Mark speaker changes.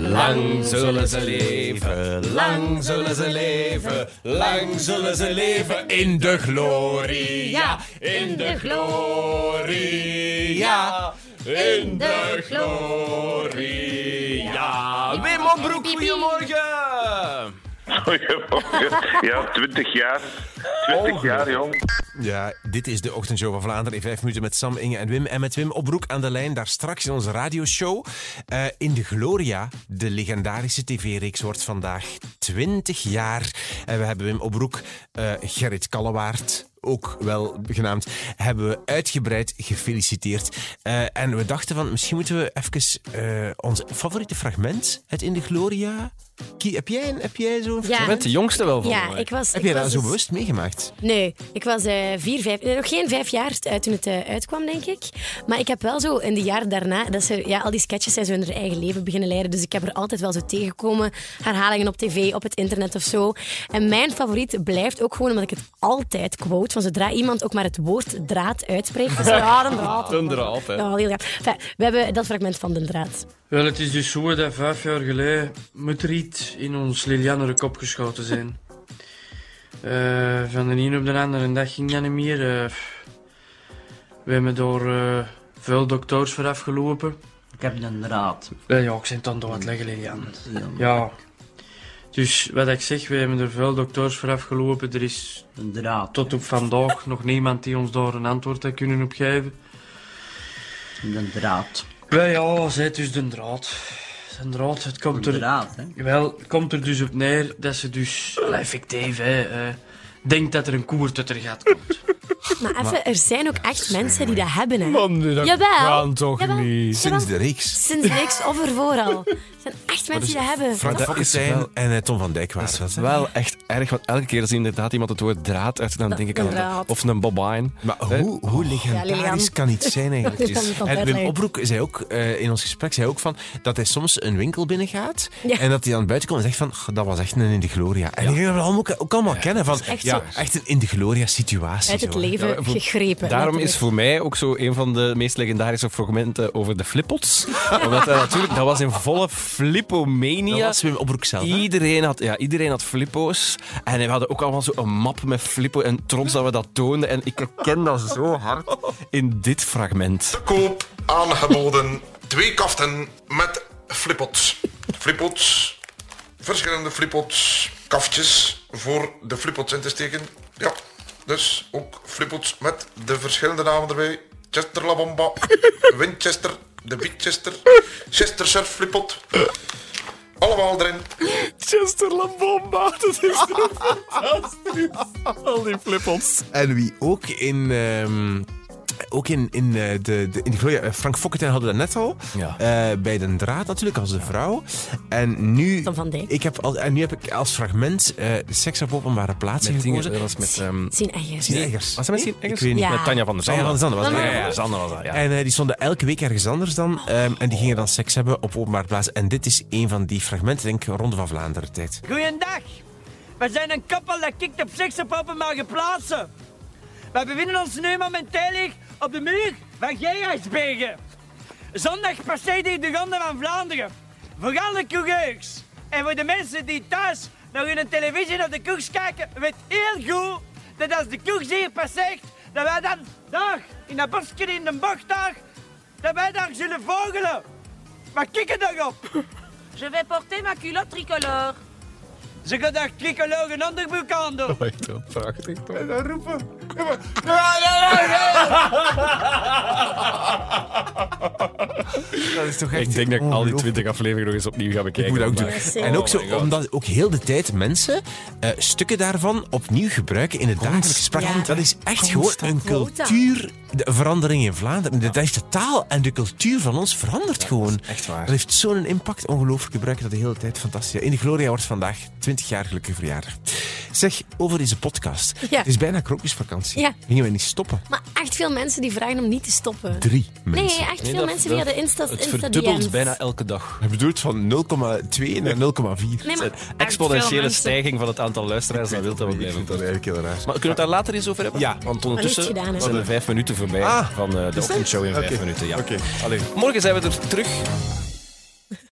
Speaker 1: Lang zullen ze leven, lang zullen ze leven, lang zullen ze leven in de gloria, in de gloria, in de gloria. Wim Opbroek, goedemorgen!
Speaker 2: Goedemorgen. Ja, 20 jaar. 20 jaar, jong.
Speaker 1: Ja, dit is de ochtendshow van Vlaanderen in vijf minuten met Sam, Inge en Wim. En met Wim Opbroek aan de lijn, daar straks in onze radioshow. Eh, in de Gloria, de legendarische tv-reeks, wordt vandaag 20 jaar. En we hebben Wim Opbroek, eh, Gerrit Kallewaard, ook wel genaamd, hebben we uitgebreid gefeliciteerd. Eh, en we dachten van, misschien moeten we even eh, ons favoriete fragment, het In de Gloria... Kie, heb jij, een- heb jij zo'n
Speaker 3: Je
Speaker 1: fragment?
Speaker 3: bent de jongste wel van
Speaker 4: Ja,
Speaker 3: mij.
Speaker 4: ik was.
Speaker 1: Heb
Speaker 4: ik
Speaker 1: jij dat
Speaker 4: was
Speaker 1: zo
Speaker 4: dus-
Speaker 1: bewust meegemaakt?
Speaker 4: Nee, ik was eh, vier, vijf, nee, nog geen vijf jaar eh, toen het eh, uitkwam, denk ik. Maar ik heb wel zo in de jaren daarna, dat ze, ja, al die sketches zijn zo in haar eigen leven beginnen leiden. Dus ik heb er altijd wel zo tegengekomen. Herhalingen op tv, op het internet of zo. En mijn favoriet blijft ook gewoon omdat ik het altijd quote. Van zodra iemand ook maar het woord draad uitspreekt. Dus ja, dan draad.
Speaker 3: Een draad, hè.
Speaker 4: Ja, heel graag. Enfin, we hebben dat fragment van de draad.
Speaker 5: Wel, het is dus zo dat vijf jaar geleden moet er iets in ons Liliannere kop geschoten zijn. Eh, van de een op de andere dag ging dat niet meer. eh. we hebben door eh, veel dokters vooraf gelopen.
Speaker 6: Ik heb een draad.
Speaker 5: Wel ja, ik ben dan door het leggen, Lilian. Ja. Dus wat ik zeg, we hebben er veel dokters vooraf gelopen. Er is
Speaker 6: Een draad.
Speaker 5: tot op vandaag nog niemand die ons daar een antwoord heeft kunnen op geven.
Speaker 6: Een draad.
Speaker 5: Wel ja, zij dus de draad. De draad, het komt
Speaker 6: Een
Speaker 5: er...
Speaker 6: draad, hè.
Speaker 5: Wel, het komt er dus op neer dat ze dus wel effectief hè, eh, denkt dat er een koer tot er gaat komt.
Speaker 4: Maar even, er zijn ook echt mensen die dat hebben. Hè.
Speaker 3: dat
Speaker 4: Jawel.
Speaker 3: kan toch
Speaker 4: Jawel.
Speaker 3: niet.
Speaker 4: Jawel.
Speaker 1: Sinds de reeks.
Speaker 4: Sinds niks of ervoor al. Er zijn echt mensen die dat hebben.
Speaker 1: Frank
Speaker 3: Dat is
Speaker 1: Fokkestein
Speaker 3: wel-
Speaker 1: en eh, Tom van Dijk waren dat. hè?
Speaker 3: Wel echt erg, want elke keer als inderdaad iemand het woord draad uit, dan denk ik aan
Speaker 4: draad.
Speaker 3: of een bobine.
Speaker 1: Maar hoe, hoe
Speaker 3: Oh.
Speaker 1: legendarisch
Speaker 4: Lilian.
Speaker 1: kan iets zijn eigenlijk? Dus
Speaker 4: Ik kan het al
Speaker 1: en Wim
Speaker 4: uitleggen.
Speaker 1: Oproek zei ook eh, in ons gesprek zei ook van, dat hij soms een winkel binnengaat
Speaker 4: Ja.
Speaker 1: en dat hij dan buiten komt en zegt van, "Goh, dat was echt een in de gloria. En ik denk dat we dat allemaal, ook allemaal kennen van,
Speaker 4: echt
Speaker 1: ja,
Speaker 4: zo.
Speaker 1: echt een in de gloria situatie.
Speaker 4: uit het
Speaker 1: zo, hè.
Speaker 4: leven
Speaker 3: Ja, voor-
Speaker 4: gegrepen.
Speaker 3: Daarom
Speaker 4: letterlijk.
Speaker 3: is voor mij ook zo een van de meest legendarische fragmenten over de flippots. Omdat dat natuurlijk, dat was in volle
Speaker 1: Dat
Speaker 3: flippomania.
Speaker 1: was Wim Oproek zelf. hè?
Speaker 3: Iedereen had, ja, iedereen had flippo's. En we hadden ook allemaal zo een map met flippo. En trots dat we dat toonden. En ik herken dat zo hard in dit fragment.
Speaker 7: koop aangeboden. Twee kaften met flippots. Flippots. Verschillende flippots. Kaftjes voor de flippots in te steken. Ja, dus ook flippots met de verschillende namen erbij. Chester La Bomba, Winchester, de Winchester, Chester Surf Flippot. Allemaal erin.
Speaker 3: Chester La Bomba, dat is zo fantastisch. Al die flippots.
Speaker 1: En wie ook in... ehm, ook in, in, eh, de, de, in de gloria... eh, Frank Fokkestein hadden we dat net al.
Speaker 3: Ja.
Speaker 1: Eh, bij Den Draad natuurlijk, als de vrouw. En nu...
Speaker 4: Tom van Dijk.
Speaker 1: Ik heb al, en nu heb ik als fragment eh, seks op openbare plaatsen
Speaker 3: Met dingen,
Speaker 1: gekozen.
Speaker 3: dat was met... ehm,
Speaker 4: Zien eigen.
Speaker 1: Sien Eggers.
Speaker 3: was dat met Sien Eggers?
Speaker 1: Ik weet niet.
Speaker 4: Ja.
Speaker 3: Met Tanja van der
Speaker 1: Tanja
Speaker 3: Zanden.
Speaker 1: van der Zanden was
Speaker 4: dat.
Speaker 3: Ja, ja, ja, Zanden was dat, ja.
Speaker 1: En eh, die stonden elke week ergens anders dan. ehm, en die gingen dan seks hebben op openbare plaatsen. En dit is een van die fragmenten, denk ik, Ronde van Vlaanderen tijd.
Speaker 8: Goeiedag. We zijn een koppel dat kikt op seks op openbare plaatsen. We bevinden ons nu momenteel op de muur van Gerardsbergen. Zondag passeert hier de ronde van Vlaanderen. Voor alle coureurs. En voor de mensen die thuis naar hun televisie of de koers kijken, weet heel goed dat als de koers hier passeert, dat wij dan daar in dat bosje in de bocht daar, dat wij daar zullen vogelen. Maar kikken daarop.
Speaker 9: Je vais porter ma culotte tricolore.
Speaker 8: Ze gaan daar tricolore een onderbroek aan doen.
Speaker 3: Prachtig, toch?
Speaker 1: Dat is toch
Speaker 3: Ik denk dat ik al die 20 afleveringen nog eens opnieuw ga bekijken.
Speaker 1: Ik moet dat ook doen.
Speaker 3: vandaag.
Speaker 1: En ook zo, omdat ook heel de tijd mensen eh, stukken daarvan opnieuw gebruiken in het dagelijks sprak.
Speaker 4: Ja.
Speaker 1: Dat is echt gewoon een cultuurverandering in Vlaanderen. Dat heeft de taal en de cultuur van ons veranderd gewoon.
Speaker 3: echt waar.
Speaker 1: Dat heeft zo'n impact. Ongelooflijk gebruiken dat de hele tijd fantastisch. is. In de Gloria wordt vandaag 20 jaar gelukkige verjaardag. Zeg, over deze podcast.
Speaker 4: Ja.
Speaker 1: Het is bijna krokusvakantie.
Speaker 4: Ja.
Speaker 1: Gingen we niet stoppen?
Speaker 4: Maar echt veel mensen die vragen om niet te stoppen.
Speaker 1: Drie
Speaker 4: Nee,
Speaker 1: mensen.
Speaker 4: echt
Speaker 3: Nee,
Speaker 4: veel
Speaker 3: dat-
Speaker 4: mensen
Speaker 3: dat-
Speaker 4: via de Insta
Speaker 3: Het
Speaker 4: Insta
Speaker 3: verdubbelt
Speaker 4: DM's.
Speaker 3: bijna elke dag.
Speaker 1: Ik bedoel, van 0,2 naar 0,4.
Speaker 4: Nee, maar echt veel
Speaker 3: Exponentiële
Speaker 4: mensen.
Speaker 3: stijging van het aantal luisteraars, dat wil dat wel
Speaker 1: Ik
Speaker 3: blijven.
Speaker 1: vind dat eigenlijk heel raar.
Speaker 3: Maar kunnen we het daar later eens over hebben?
Speaker 1: Ja. Ah.
Speaker 3: Want
Speaker 4: Maar
Speaker 3: ondertussen
Speaker 4: niet gedaan, hè?
Speaker 3: zijn er vijf minuten voorbij van eh, de ochtendshow in vijf minuten. Ja. Allee. Morgen zijn we er terug.